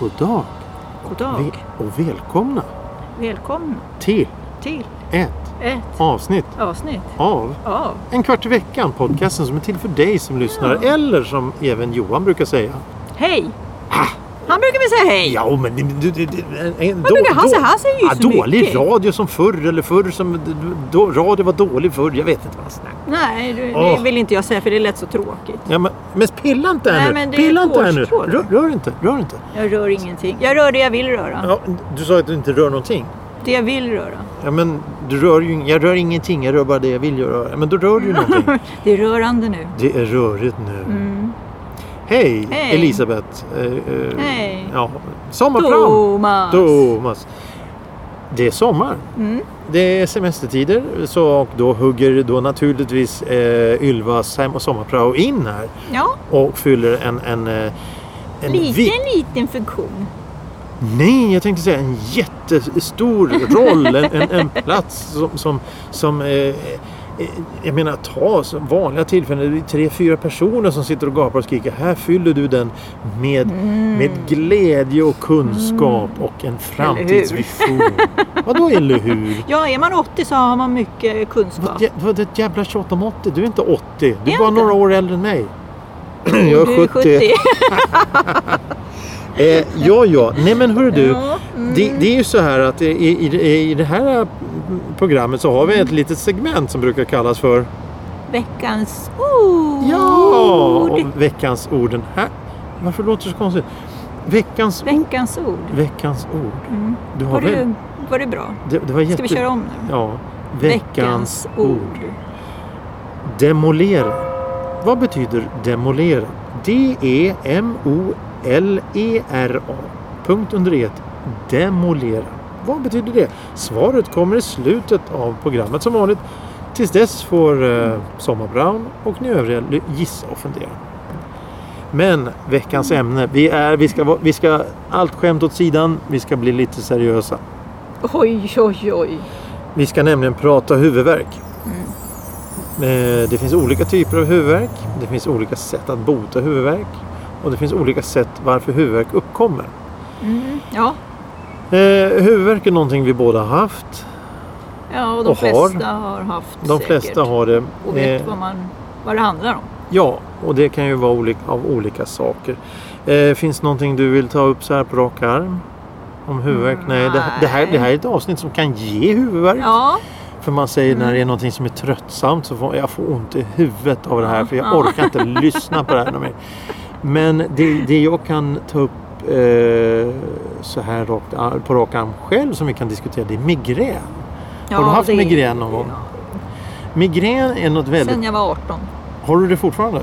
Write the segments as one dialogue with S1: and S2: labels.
S1: God dag
S2: God
S1: Ve-
S2: dag.
S1: och välkomna
S2: Välkommen
S1: till
S2: till
S1: ett
S2: ett
S1: avsnitt
S2: avsnitt
S1: av
S2: av
S1: En kvart i veckan, podcasten som är till för dig som lyssnar eller som även Johan brukar säga.
S2: Hej. Han brukar väl säga hej?
S1: Ja, men det- det- det- det- en
S2: Vad brukar han
S1: då-
S2: säga? Han säger ju
S1: ja,
S2: så
S1: Dålig
S2: mycket.
S1: radio som förr eller förr som... Då, radio var dålig förr, jag vet inte vad han snackar om.
S2: Nej, det, det
S1: Åh.
S2: vill inte jag säga för det lät så tråkigt.
S1: Ja, men, men pilla inte här
S2: Nej,
S1: nu!
S2: men det är
S1: pilla
S2: ett
S1: inte här nu!
S2: årskål.
S1: Rör, rör inte, rör inte.
S2: Jag rör ingenting. Jag rör det jag vill röra.
S1: Ja, du sa att du inte rör någonting.
S2: Det jag vill röra.
S1: Ja, men du rör ju... ing- Jag rör ingenting, jag rör bara det jag vill göra. Ja, men då rör du ju någonting.
S2: Det är rörande nu.
S1: Det är rörigt nu.
S2: Mm.
S1: Hej,
S2: Hej.
S1: Elisabeth. Eh, eh,
S2: Hej.
S1: Ja, sommarplan.
S2: Thomas.
S1: Thomas. Det är sommar.
S2: Mm.
S1: Det är semestertider så och då hugger då naturligtvis eh, Ylva Sam- sommarprao in här
S2: Ja,
S1: och fyller en... en, eh, en
S2: liten,
S1: vi-
S2: liten funktion.
S1: Nej, jag tänkte säga en jättestor roll, en, en, en plats som, som, som eh, eh, jag menar ta som vanliga tillfällen, det är tre, fyra personer som sitter och gapar och skriker. Här fyller du den med,
S2: Mm.
S1: med glädje och kunskap och en framtidsvision. Vadå eller hur?
S2: Ja, är man 80 så har man mycket kunskap.
S1: Vad jä- Vad det jävla tjat om 80? Du är inte 80, du är
S2: jag
S1: bara
S2: inte?
S1: några år äldre än mig. Jag
S2: Du är 70.
S1: Eh, ja, ja. Nej men hörru du.
S2: Ja, mm.
S1: Det, det är ju så här att i, i, i det här programmet så har vi ett litet segment som brukar kallas för
S2: Veckans ord.
S1: Och veckans ord. Den här. Varför låter det så konstigt? Veckans,
S2: Veckans ord.
S1: veckans ord.
S2: Mm.
S1: Du har
S2: Var,
S1: väl,
S2: det, var det bra?
S1: det, det var jätte,
S2: Ska vi köra om nu?
S1: Ja. Veckans, ord. Demolera. Vad betyder demolera? E D-E-M-O-L-E-R-A. E Punkt under e Demolera. Vad betyder det? Svaret kommer i slutet av programmet som vanligt. Tills dess får eh, Sommar Brown och ni övriga ly- gissa och fundera. Men veckans ämne. Vi, är, vi, ska, vara- vi ska allt skämt åt sidan. Vi ska bli lite seriösa.
S2: Oj, oj, oj.
S1: Vi ska nämligen prata huvudvärk.
S2: Mm.
S1: Eh, Det finns olika typer av huvudvärk. Det finns olika sätt att bota huvudvärk. Och det finns olika sätt varför huvudvärk uppkommer.
S2: Mm. Ja.
S1: Eh, huvudvärk är någonting vi båda har haft.
S2: ja, och de
S1: Och har.
S2: flesta har haft
S1: De
S2: säkert.
S1: flesta har det.
S2: Och vet
S1: Eh,
S2: vad, man, vad det handlar om.
S1: Ja, och det kan ju vara olika, av olika saker. Eh, finns någonting du vill ta upp så här på rak arm? Om huvudvärk? Nej, det, det, här, det här är ett avsnitt som kan ge huvudvärk.
S2: Ja,
S1: För man säger när det är någonting som är tröttsamt så får jag får ont i huvudet av det här för jag
S2: Ja.
S1: orkar inte lyssna på det här något mer. Men det, det jag kan ta upp eh, så här rakt, ar- på rak arm själv som vi kan diskutera det är migrän.
S2: ja.
S1: du haft
S2: det är-
S1: migrän någon gång? Migrän är något
S2: Ja.
S1: väldigt...
S2: Sen jag var 18.
S1: Har du det fortfarande?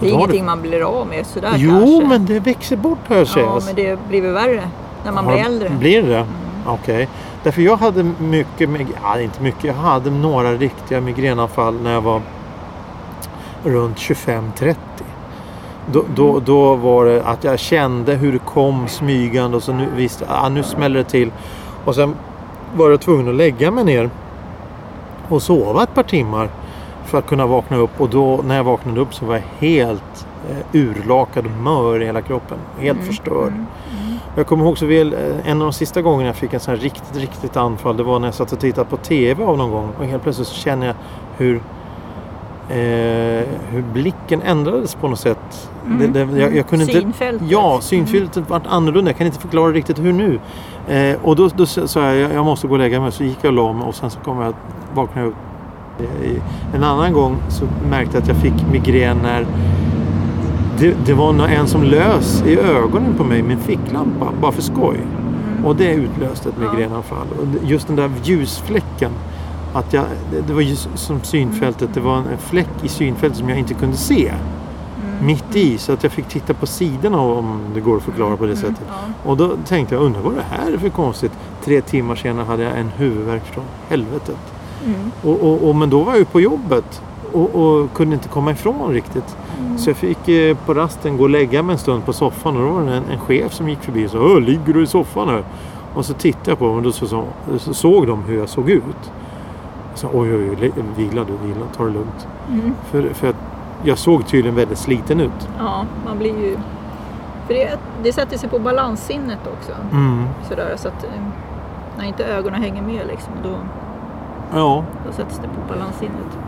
S2: Det är
S1: Har du-
S2: ingenting man blir av med sådär
S1: Jo,
S2: kanske.
S1: men det växer bort hör jag
S2: Ja, men det blir väl värre när man blir
S1: Har-
S2: äldre.
S1: Blir det? Okej. Därför jag hade mycket, mig- ja, inte mycket, jag hade några riktiga migränanfall när jag var runt 25-30. Då,
S2: Mm.
S1: då, då var det att jag kände hur det kom smygande och så nu visste jag, ah, nu smäller det till. Och sen var jag tvungen att lägga mig ner och sova ett par timmar för att kunna vakna upp och då när jag vaknade upp så var jag helt eh, urlakad och mör i hela kroppen. Helt förstörd. Jag kommer ihåg så väl eh, en av de sista gångerna jag fick en sån här riktigt, riktigt anfall. Det var när jag satt och tittade på TV av någon gång och helt plötsligt så känner jag hur, eh, hur blicken ändrades på något sätt.
S2: Mm,
S1: Det, det, jag, jag kunde inte,
S2: Synfältet.
S1: Ja, synfältet vart annorlunda. Jag kan inte förklara riktigt hur nu. Eh, och då, då sa jag, jag jag måste gå och lägga mig. Så gick jag och la mig och sen så kom jag, vaknade jag upp. Eh, En annan gång så märkte jag att jag fick migrän när det, det var nå- en som lös i ögonen på mig med en ficklampa, bara för skoj.
S2: Mm,
S1: Och det utlöste ett
S2: Ja.
S1: migränanfall. Och det- just den där ljusfläcken. Att jag, det- det var ju s- som synfältet, det var en en fläck i synfältet som jag inte kunde se.
S2: mm,
S1: Mitt i, så att jag fick titta på sidorna om det går att förklara på det
S2: Mm,
S1: sättet. Och då tänkte jag, undrar vad det här är för konstigt. Tre timmar senare hade jag en huvudvärk från helvetet.
S2: Mm.
S1: Och, och, och, men då var jag ju på jobbet och, och kunde inte komma ifrån riktigt.
S2: Mm.
S1: Så jag fick eh, på rasten gå och lägga mig en stund på soffan och då var det en, en chef som gick förbi och sa "Åh, ”Ligger du i soffan här?” Och så tittade jag på dem och då så, så, så såg de hur jag såg ut. Jag sa ”Oj, oj, oj, le- vila du, vila, ta det lugnt”.
S2: Mm.
S1: För, för att jag såg tydligen väldigt sliten ut.
S2: Ja, man blir ju... För det, det sätter sig på balanssinnet också. Sådär, så att eh, när inte ögonen hänger med liksom, då,
S1: Ja.
S2: då sätts det på balanssinnet.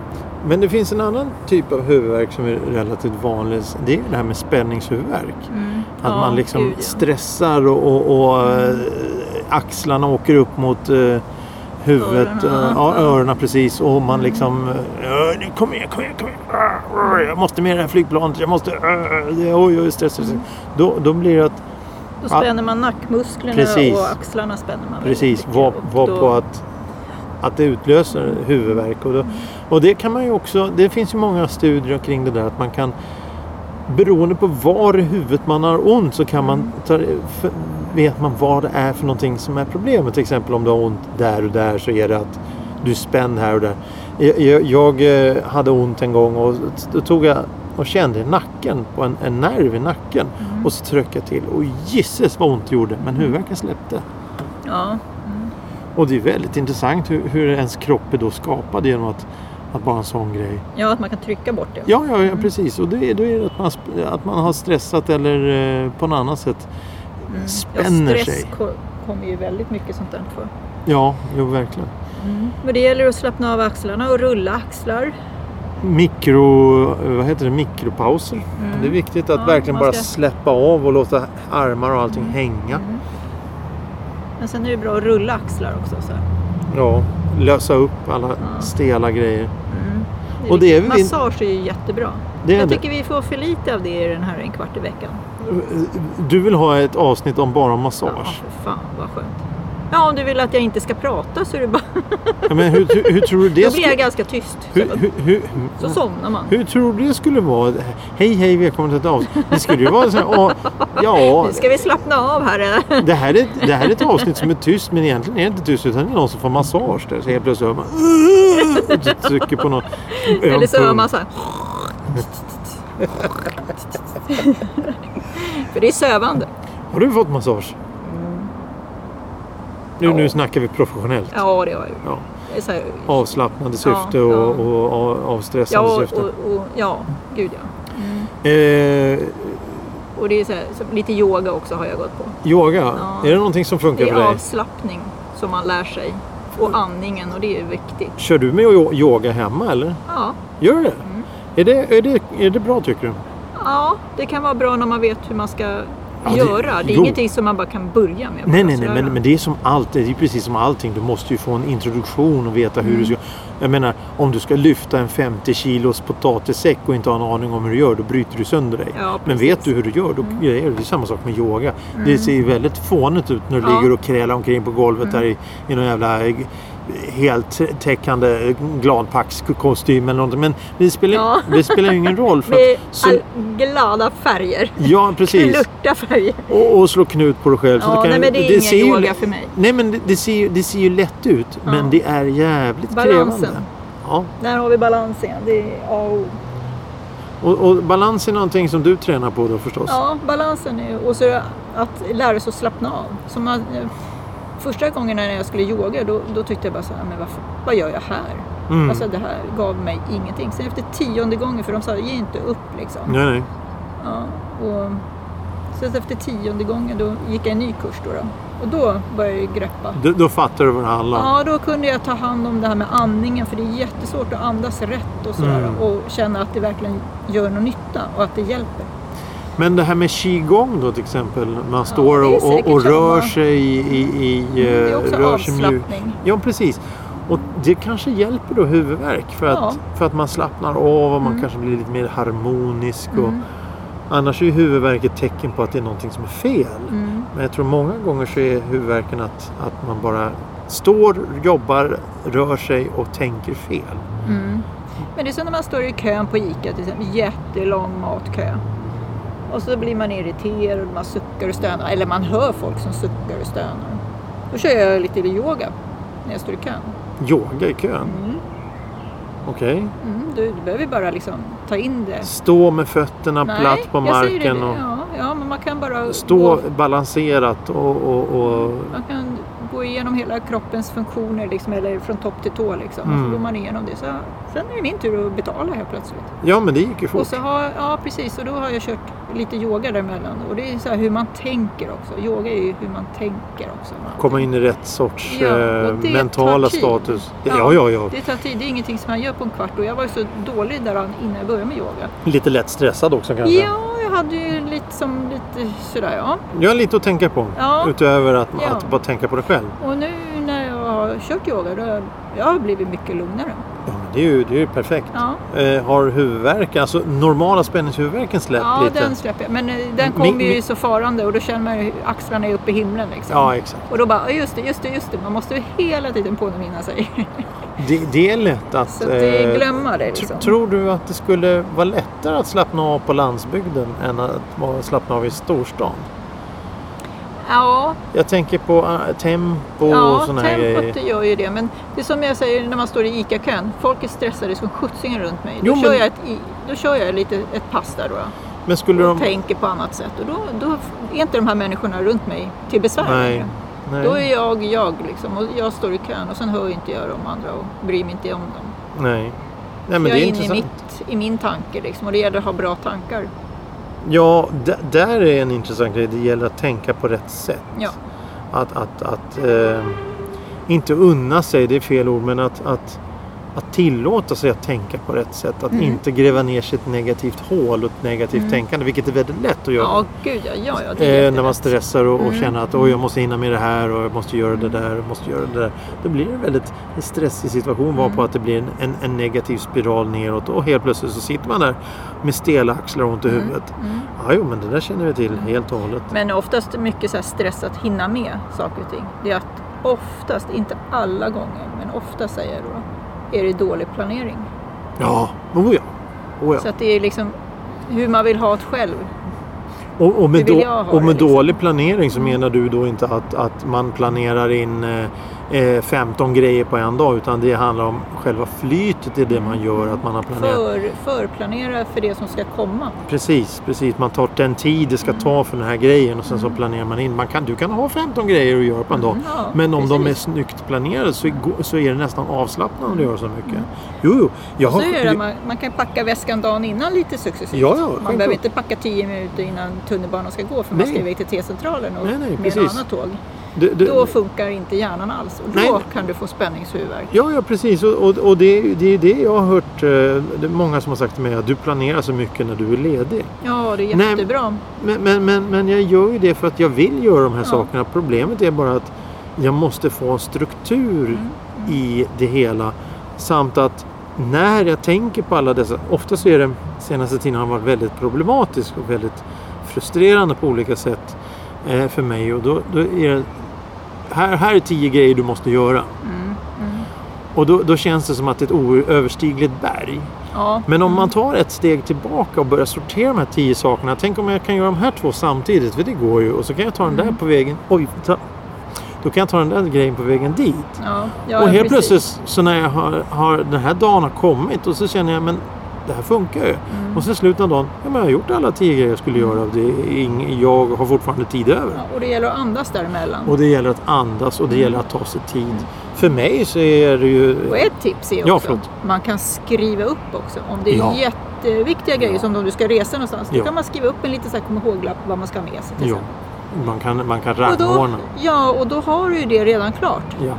S1: Men det finns en annan typ av huvudvärk som är relativt vanlig. Det är det här med spänningshuvudvärk.
S2: Mm.
S1: Att man liksom
S2: gud, ja.
S1: stressar och, och, och eh, axlarna åker upp mot eh, huvudet.
S2: Öronen,
S1: Öronen. Ja,
S2: ja. Mm.
S1: öronen precis. Och man liksom... eh, "Äh, Kom igen, kom igen, kom igen. Ah, ah, Jag måste med det här flygplanet. Jag måste... ah, det- Oj, oj, stress. stress." Då, då blir det att
S2: Då spänner man nackmusklerna
S1: Precis.
S2: och axlarna spänner man väldigt
S1: precis
S2: mycket.
S1: vara
S2: Och
S1: var
S2: då-
S1: på att, att det utlöser huvudvärk. Och, då, och det kan man ju också... Det finns ju många studier kring det där att man kan Beroende på var i huvudet man har ont så kan man ta, för, vet man vad det är för någonting som är problemet. Till exempel om du har ont där och där så är det att du är spänd här och där. Jag, jag, jag eh, hade ont en gång och då tog jag och kände i nacken på en, en nerv i nacken och så tryckte jag till och gisses vad ont det gjorde men huvudvärken släppte.
S2: Ja,
S1: Och det är väldigt intressant hur, hur ens kropp är då skapad genom att, att bara en sån grej
S2: ja, att man kan trycka bort det.
S1: Ja, ja, ja precis. Och det är, då är det att man, sp- att man har stressat eller eh, på något annat sätt
S2: Mm.
S1: spänner
S2: ja, stress
S1: sig.
S2: ko- kommer ju väldigt mycket sånt där för.
S1: Ja, jo verkligen.
S2: Men det gäller att slappna av axlarna och rulla axlar.
S1: Mikro, eh, vad heter det? Mikropauser. Det är viktigt att
S2: Mm. Ja,
S1: verkligen
S2: man
S1: bara
S2: ska- Mm.
S1: släppa av och låta armar och allting hänga.
S2: Men sen är det bra att rulla axlar också. Så. här.
S1: Ja, lösa upp alla stela grejer.
S2: Det är
S1: Och det är
S2: viktigt.
S1: väl in-
S2: Mm. Massage är ju jättebra.
S1: Det är
S2: Jag
S1: det.
S2: tycker vi får för lite av det i den här en kvart i veckan.
S1: Du vill ha ett avsnitt om bara
S2: Ja,
S1: massage.
S2: för fan vad skönt. Ja, om du vill att jag inte ska prata så är det bara...
S1: Ja. Men hur, hur, hur tror du det
S2: Då blir jag
S1: skulle...
S2: ganska tyst. Så,
S1: Hur, hur, hur,
S2: så somnar man.
S1: hur tror du det skulle vara? Hej, hej, välkommen till ett avsnitt. Det skulle ju vara så här, "Åh, ja,
S2: Nu ska vi slappna av här. eh, eller?
S1: Det här, är, det här är ett avsnitt som är tyst, men egentligen är det inte tyst utan det är någon som får massage där. Så helt plötsligt hör man och trycker på någon öm
S2: Eller så hör
S1: punkt.
S2: man så här... För det är sövande.
S1: Har du fått massage? Nu,
S2: Mm. Ja.
S1: nu snackar vi professionellt.
S2: Ja, det har jag gjort.
S1: Ja.
S2: Det är så här-
S1: Avslappnande syfte
S2: ja.
S1: Och, och, av-
S2: Ja,
S1: avstressande syfte.
S2: och, och, ja, gud ja.
S1: Eh,
S2: Och det är så här, så lite yoga också har jag gått på.
S1: yoga,
S2: Ja.
S1: är det någonting som funkar
S2: Det
S1: för
S2: är
S1: dig?
S2: avslappning som man lär sig. Och andningen och det är ju viktigt.
S1: Kör du med yo- yoga hemma eller?
S2: Ja.
S1: Gör du det?
S2: Mm.
S1: Är det, är det? Är det bra tycker du?
S2: ja, det kan vara bra när man vet hur man ska
S1: det-
S2: göra. Det, är
S1: jo.
S2: ingenting som man bara kan börja med. Alltså,
S1: Nej,
S2: bara
S1: nej, nej,
S2: sådär.
S1: men, men det är som allt. Det är ju precis som allting. Du måste ju få en introduktion och veta
S2: Mm.
S1: hur du ska... Jag menar, om du ska lyfta en 50 kilos potatissäck och inte har en aning om hur du gör, då bryter du sönder dig.
S2: Ja,
S1: men
S2: precis. Mm.
S1: vet du hur du gör, då grejer du. Det är samma sak med yoga. Det ser ju väldigt fånigt ut när du
S2: Ja. Mm.
S1: ligger och krälar omkring på golvet där i, i någon jävla eh, helt täckande eh, gladpackskostym eller någonting. Men det spelar,
S2: Ja.
S1: det spelar ju ingen roll. För
S2: Med
S1: att, så,
S2: all- glada färger.
S1: ja, precis.
S2: Lurta färger.
S1: Och, och slå knut på dig själv. så
S2: Ja,
S1: du kan-
S2: nej, men det är ingen
S1: ser ju-
S2: yoga för mig.
S1: Nej men det, det, ser, ju- det ser ju lätt ut men det är jävligt
S2: Balansen.
S1: krävande. Ja.
S2: Där har vi balansen. Det är A och O.
S1: Och, och balans är någonting som du tränar på då förstås?
S2: Ja, balansen är, och så är det att lära sig att slappna av. Som man, första gången när jag skulle yoga då, då tyckte jag bara så här, men vad, f- vad gör jag här?
S1: Mm.
S2: Alltså det här gav mig ingenting. Sen efter tionde gången, för de sa ge inte upp liksom.
S1: Nej, nej.
S2: Ja, och, så att efter tionde gången då gick jag en ny kurs då. då och då började jag ju greppa.
S1: Då, då fattar du vad det handlar om.
S2: Ja, då kunde jag ta hand om det här med andningen för det är jättesvårt att andas rätt och sådär
S1: Mm.
S2: och känna att det verkligen gör någon nytta och att det hjälper.
S1: Men det här med qigong då till exempel. Man står
S2: det är
S1: och, och, och
S2: säkert
S1: rör
S2: samma. Mm,
S1: sig i... i, i
S2: Det är
S1: eh,
S2: också
S1: rör sig mjukt.
S2: avslappning.
S1: Ja precis. Och det kanske hjälper då huvudvärk för att,
S2: Ja. Mm.
S1: för att man slappnar av och man kanske blir lite mer harmonisk. Och, Annars är ju huvudvärk ett tecken på att det är någonting som är fel.
S2: Mm.
S1: Men jag tror många gånger så är huvudvärken att, att man bara står, jobbar, rör sig och tänker fel.
S2: Mm. Men det är så när man står i kön på ICA, till exempel, jättelång matkö. Och så blir man irriterad, man suckar och stönar, eller man hör folk som suckar och stönar. Då kör jag lite yoga när jag står i kön.
S1: Yoga i kön.
S2: Mm.
S1: Okej.
S2: Mm, du, du behöver bara liksom ta in det.
S1: Stå med fötterna platt på
S2: jag säger
S1: marken
S2: det.
S1: och
S2: Ja, ja, men man kan bara
S1: stå
S2: gå,
S1: balanserat och, och, och
S2: man kan gå igenom hela kroppens funktioner, liksom, eller från topp till tå. Liksom. Och
S1: Mm.
S2: så går man igenom det. Så, sen är det min tur att betala helt plötsligt.
S1: Ja, men det gick ju fort.
S2: Och så har, ja, precis. Och då har jag kört lite yoga däremellan. Och det är så här hur man tänker också. Yoga är ju hur man tänker också.
S1: Komma in i rätt sorts
S2: Ja, och
S1: eh,
S2: det
S1: mentala
S2: tar tid.
S1: status. Ja, ja, ja.
S2: Ja.
S1: ja.
S2: Det tar tid, det är ingenting som man gör på en kvart. Och jag var ju så dålig där innan jag började med yoga.
S1: Lite lätt stressad också kanske.
S2: Ja, jag hade ju lite som lite sådär ja.
S1: Jag har lite att tänka på.
S2: Ja.
S1: Utöver att,
S2: Ja.
S1: att bara tänka på det själv.
S2: Och nu när jag har kört yoga då har jag, jag har blivit mycket lugnare.
S1: Ja, men det är ju, det är ju perfekt.
S2: Ja,
S1: Eh, har huvudvärk, alltså normala spänningshuvudvärken släppt
S2: ja
S1: lite?
S2: den släpper jag. Men eh, den
S1: Min-
S2: kom ju
S1: min-
S2: så farande och då känner man ju axlarna är uppe i himlen liksom.
S1: Ja, exakt.
S2: Och då bara, "Ja, just det, just det, just det. Man måste ju hela tiden påminna sig.
S1: Det, det är lätt att...
S2: Så att det
S1: eh,
S2: glömma det
S1: tr-
S2: liksom.
S1: Tror du att det skulle vara lättare att slappna av på landsbygden än att vara- slappna av i storstan?
S2: Ja,
S1: Jag tänker på eh, tempo och
S2: ja
S1: sådana här
S2: tempot typ
S1: grejer.
S2: det gör ju det. Men det är som jag säger när man står i ICA-kön. Folk är stressade som sjuttsingen runt mig. Då,
S1: Jo,
S2: kör
S1: men-
S2: jag ett, i- då kör jag lite ett pass där då.
S1: Men skulle
S2: och
S1: de...
S2: tänker på annat sätt. Och då, då är inte de här människorna runt mig till besvär
S1: Nej.
S2: längre.
S1: Nej.
S2: Då är jag jag liksom och jag står i kön och sen hör inte jag de andra och bryr mig inte om dem.
S1: Nej. Nej, men
S2: jag
S1: det är
S2: är inne i,
S1: intressant.
S2: mitt, i min tanke liksom och det gäller att ha bra tankar.
S1: Ja, d- där är en intressant grej. Det gäller att tänka på rätt sätt.
S2: Ja.
S1: Att, att, att eh, inte unna sig, det är fel ord, men att, att, att tillåta sig att tänka på rätt sätt. Att
S2: Mm.
S1: inte gräva ner sig i ett negativt hål och ett negativt
S2: Mm.
S1: tänkande, vilket är väldigt lätt att göra.
S2: Ja, gud ja. ja, ja det är
S1: Eh,
S2: jättelätt.
S1: när man stressar och, och
S2: Mm.
S1: känner att oj, jag måste hinna med det här och jag måste göra det där och måste göra det där. Då blir det en väldigt stressig situation varpå
S2: Mm.
S1: på att det blir en, en, en negativ spiral neråt och helt plötsligt så sitter man där med stela axlar och ont i huvudet.
S2: Mm.
S1: Ja, jo, men det där känner vi till helt och hållet.
S2: Men oftast mycket så här stress att hinna med saker och ting. Det är att oftast, inte alla gånger, men ofta säger jag då, är det dålig planering.
S1: Ja, oh ja. Oh ja.
S2: Så att det är liksom hur man vill ha det själv.
S1: Och, och med,
S2: det vill
S1: då,
S2: jag ha
S1: och med
S2: det, liksom.
S1: dålig planering så menar du då inte att, att man planerar in eh, eh, 15 grejer på en dag utan det handlar om själva flytet i det man gör, att man har planerat
S2: För, förplanera för det som ska komma.
S1: Precis, precis. Man tar den tid det ska ta för den här grejen och sen så planerar man in. Man kan, du kan ha 15 grejer att göra på en dag.
S2: Mm, ja,
S1: men om de är
S2: precis.
S1: snyggt planerade så, går- så är det nästan avslappnande att göra så mycket. Jo, jo. Jag har,
S2: Så är det, man, man kan packa väskan dagen innan lite successivt.
S1: Ja, ja, självklart.
S2: man behöver inte packa 10 minuter innan tunnelbanan ska gå för man
S1: Nej.
S2: ska iväg till T-centralen och
S1: Nej, nej,
S2: med
S1: precis.
S2: en annan tåg.
S1: det, det,
S2: Då funkar inte hjärnan alls och då
S1: Nej, nej.
S2: kan du få spänningshuvudvärk.
S1: Ja, ja precis. Och, och, och det, är- det är det jag har hört. eh, Det är många som har sagt till mig att du planerar så mycket när du är ledig.
S2: Ja, det är
S1: Nej. Mm.
S2: jättebra.
S1: Men, men, men, men jag gör ju det för att jag vill göra de här
S2: Ja.
S1: sakerna. Problemet är bara att jag måste få struktur
S2: Mm.
S1: i det hela. Samt att när jag tänker på alla dessa, ofta så är det senaste tiden har varit väldigt problematisk och väldigt frustrerande på olika sätt eh, för mig. Och då, då är det, här, här är tio grejer du måste göra.
S2: Mm, mm.
S1: Och då, då känns det som att det är ett oöverstigligt berg.
S2: Ja.
S1: Men om man tar ett steg tillbaka och börjar sortera de här tio sakerna. Tänk om jag kan göra de här två samtidigt, för det går ju. Och så kan jag ta den
S2: Mm.
S1: där på vägen. Oj, ta, då kan jag ta den där grejen på vägen dit.
S2: Ja, ja,
S1: och helt
S2: precis.
S1: plötsligt så när jag har, har, den här dagen har kommit och så känner jag men det här funkar ju.
S2: Mm.
S1: Och sen slutet av dagen, ja men jag har gjort alla tio grejer jag skulle göra. Det är ing, jag har fortfarande tid över.
S2: Ja, och det gäller att andas däremellan.
S1: Och det gäller att andas och det gäller att ta sig tid. För mig så är det ju...
S2: Och ett tips är
S1: Ja,
S2: också
S1: förlåt.
S2: man kan skriva upp också. Om det är
S1: Ja.
S2: jätteviktiga grejer som om du ska resa någonstans.
S1: Ja.
S2: Då kan man skriva upp en liten så här kom ihåg-lapp vad man ska ha med sig. till
S1: Ja,
S2: exempel.
S1: liksom. man kan, man kan
S2: och då,
S1: rangordna.
S2: ja, och då har du ju det redan klart.
S1: Ja.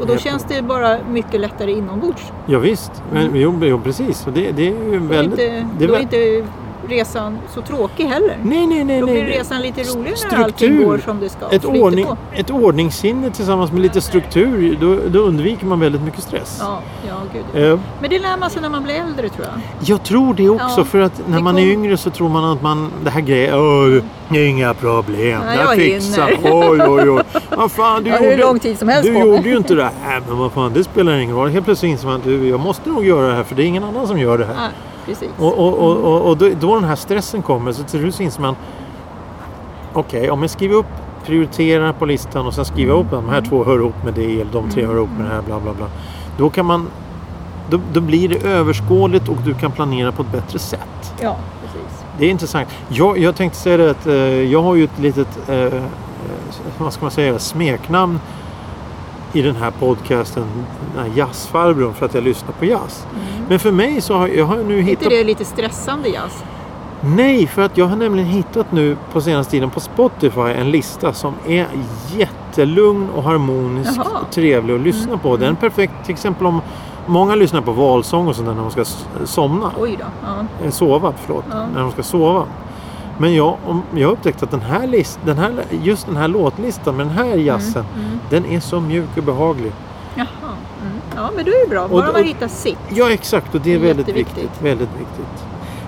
S2: Och då
S1: Helt
S2: känns det bara mycket lättare inombords.
S1: Ja, visst, men jo, jo precis. Och det, det är ju
S2: Mm. Då är,
S1: väldigt...
S2: inte,
S1: det är
S2: då är
S1: väl-
S2: inte resan så tråkig heller.
S1: Nej, nej, nej.
S2: Då
S1: nej.
S2: blir
S1: det-
S2: resan lite roligare
S1: Struktur.
S2: när allting går som det ska. och
S1: Ett,
S2: flyter
S1: ordning,
S2: på.
S1: ett ordningssinne tillsammans med lite struktur, då, då undviker man väldigt mycket stress.
S2: Ja, ja, gud.
S1: Eh,
S2: Men det lär man sig när man blir äldre tror jag.
S1: Jag tror det också,
S2: Ja,
S1: för att när
S2: det
S1: man är
S2: kom-
S1: yngre så tror man att man, det här grejen, "Åh, det är inga problem,
S2: Nej,
S1: jag
S2: jag
S1: fixar,
S2: hinner."
S1: oj, oj, oj. Vad fan, du
S2: Ja, det är
S1: gjorde,
S2: hur lång tid som helst
S1: du
S2: på
S1: gjorde
S2: mig.
S1: ju inte det här, men vad fan, det spelar ingen roll. Helt plötsligt inser man att du, jag måste nog göra det här, för det är ingen annan som gör det här.
S2: Ja, precis.
S1: Och, och, och, och, och då, då den här stressen kommer så till slut så inser man Okej, om jag skriver upp prioriterar på listan och sen skriver jag upp de här två hör ihop med det eller de tre hör ihop med det här bla bla bla. Då kan man Då, då blir det överskådligt och du kan planera på ett bättre sätt.
S2: Ja, precis.
S1: Det är intressant. Jag, jag tänkte säga det att eh, jag har ju ett litet, eh, eh, vad ska man säga, smeknamn i den här podcasten, den här jazzfarbrorn, för att jag lyssnar på jazz. Men för mig så har jag har nu
S2: Mm. Är inte
S1: hittat...
S2: det är lite stressande jazz?
S1: Nej, för att jag har nämligen hittat nu på senaste tiden på Spotify en lista som är jättelugn och harmonisk
S2: Jaha. Mm.
S1: och trevlig att lyssna på. Den är perfekt till exempel om många lyssnar på valsång och sånt där när de ska s- somna.
S2: Oj då. Ja.
S1: Eh, Sova, förlåt.
S2: Ja.
S1: När de ska sova. Men jag, om, jag har upptäckt att den här list, den här, just den här låtlistan med den här jazzen,
S2: Mm.
S1: den är så mjuk och behaglig.
S2: Jaha. Mm. Ja, men då är det bra. Bara
S1: och-
S2: man hittar sitt.
S1: Ja, exakt. Och det är
S2: Det är
S1: väldigt
S2: jätteviktigt.
S1: viktigt. Väldigt viktigt.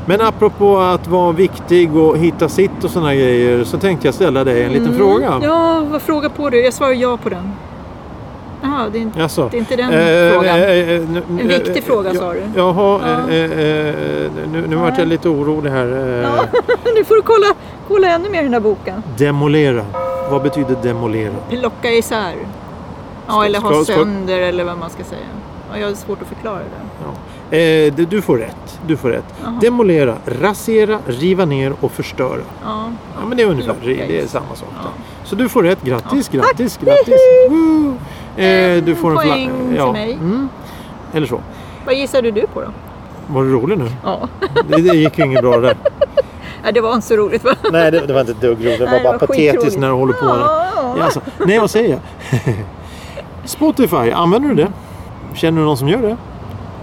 S1: Men apropå att vara viktig och hitta sitt och sådana grejer så tänkte jag ställa dig en liten
S2: Mm.
S1: fråga.
S2: Ja, vad fråga på du? Jag svarar ja på den. Jaha, det är inte,
S1: Alltså,
S2: det är inte den
S1: eh,
S2: frågan.
S1: eh, eh, nu-
S2: En
S1: eh,
S2: viktig fråga,
S1: ja,
S2: sa du.
S1: Jaha,
S2: Ja.
S1: eh, eh, nu, nu vart
S2: Nej.
S1: jag lite orolig här. eh.
S2: Ja, nu får du kolla, kolla ännu mer i den här boken.
S1: Demolera. Vad betyder demolera?
S2: Plocka isär. Ja,
S1: Ska-
S2: eller
S1: ska-
S2: ha
S1: ska-
S2: sönder eller vad man ska säga. Ja, jag har svårt att förklara det.
S1: Ja. Eh, du- du får rätt. Du får rätt.
S2: Jaha.
S1: Demolera, rasera, riva ner och förstöra.
S2: Ja.
S1: Ja, men det är ungefär
S2: Plocka
S1: det är
S2: is.
S1: samma sak.
S2: Ja.
S1: Så du får rätt. Grattis,
S2: Ja.
S1: grattis, grattis. Woo! Eh, du
S2: En
S1: får en
S2: poäng
S1: fla-
S2: till mig.
S1: Mm. Eller så.
S2: Vad gissade du på då?
S1: Var du rolig nu?
S2: Ja.
S1: Det, det gick ju inget bra där.
S2: Nej, det var inte så roligt va?
S1: Nej, det, det var inte ett dugg roligt. Det var
S2: Nej, det
S1: bara
S2: var
S1: patetiskt
S2: skitroligt.
S1: när du håller på. där.
S2: Ja.
S1: Ja, alltså. Nej, vad säger jag? Spotify, använder du det? Känner du någon som gör det?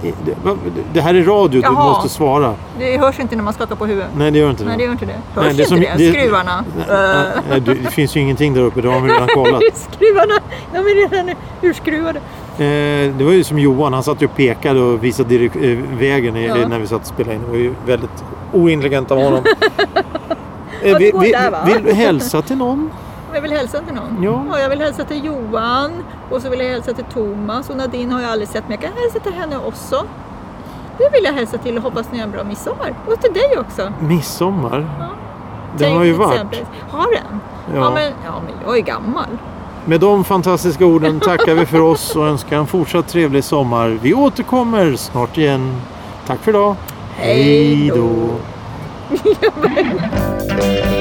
S1: Det- va- Det här är radio, du
S2: Jaha.
S1: måste svara.
S2: Det hörs inte när man skakar på huvudet.
S1: Nej, det gör inte det.
S2: Nej, det gör inte det.
S1: Nej,
S2: Hörs
S1: det är
S2: inte
S1: som-
S2: det?
S1: det-
S2: Skruvarna.
S1: Nej, nej, du- det finns ju ingenting där uppe, det har vi redan kollat.
S2: Skruvarna, de är redan urskruvade.
S1: Eh, det var ju som Johan, han satt ju och pekade och visade direk- eh, vägen i,
S2: Ja.
S1: när vi satt och spelade in. Det var ju väldigt ointelligent av honom.
S2: Ja,
S1: Eh,
S2: det
S1: vi,
S2: går
S1: vi,
S2: där, va?
S1: vill du hälsa till någon?
S2: Jag vill hälsa till någon.
S1: Ja.
S2: jag vill hälsa till Johan och så vill jag hälsa till Thomas och Nadine har jag aldrig sett men jag kan hälsa till henne också. Det vill jag hälsa till och hoppas ni har en bra midsommar. Och till dig också.
S1: Midsommar?
S2: Ja.
S1: Den
S2: Tänk
S1: har ju
S2: till
S1: varit.
S2: exempel. Har den? Ja.
S1: Ja.
S2: men, ja, men jag är gammal.
S1: Med de fantastiska orden tackar vi för oss och önskar en fortsatt trevlig sommar. Vi återkommer snart igen. Tack för idag.
S2: Hej då.
S1: Hej då.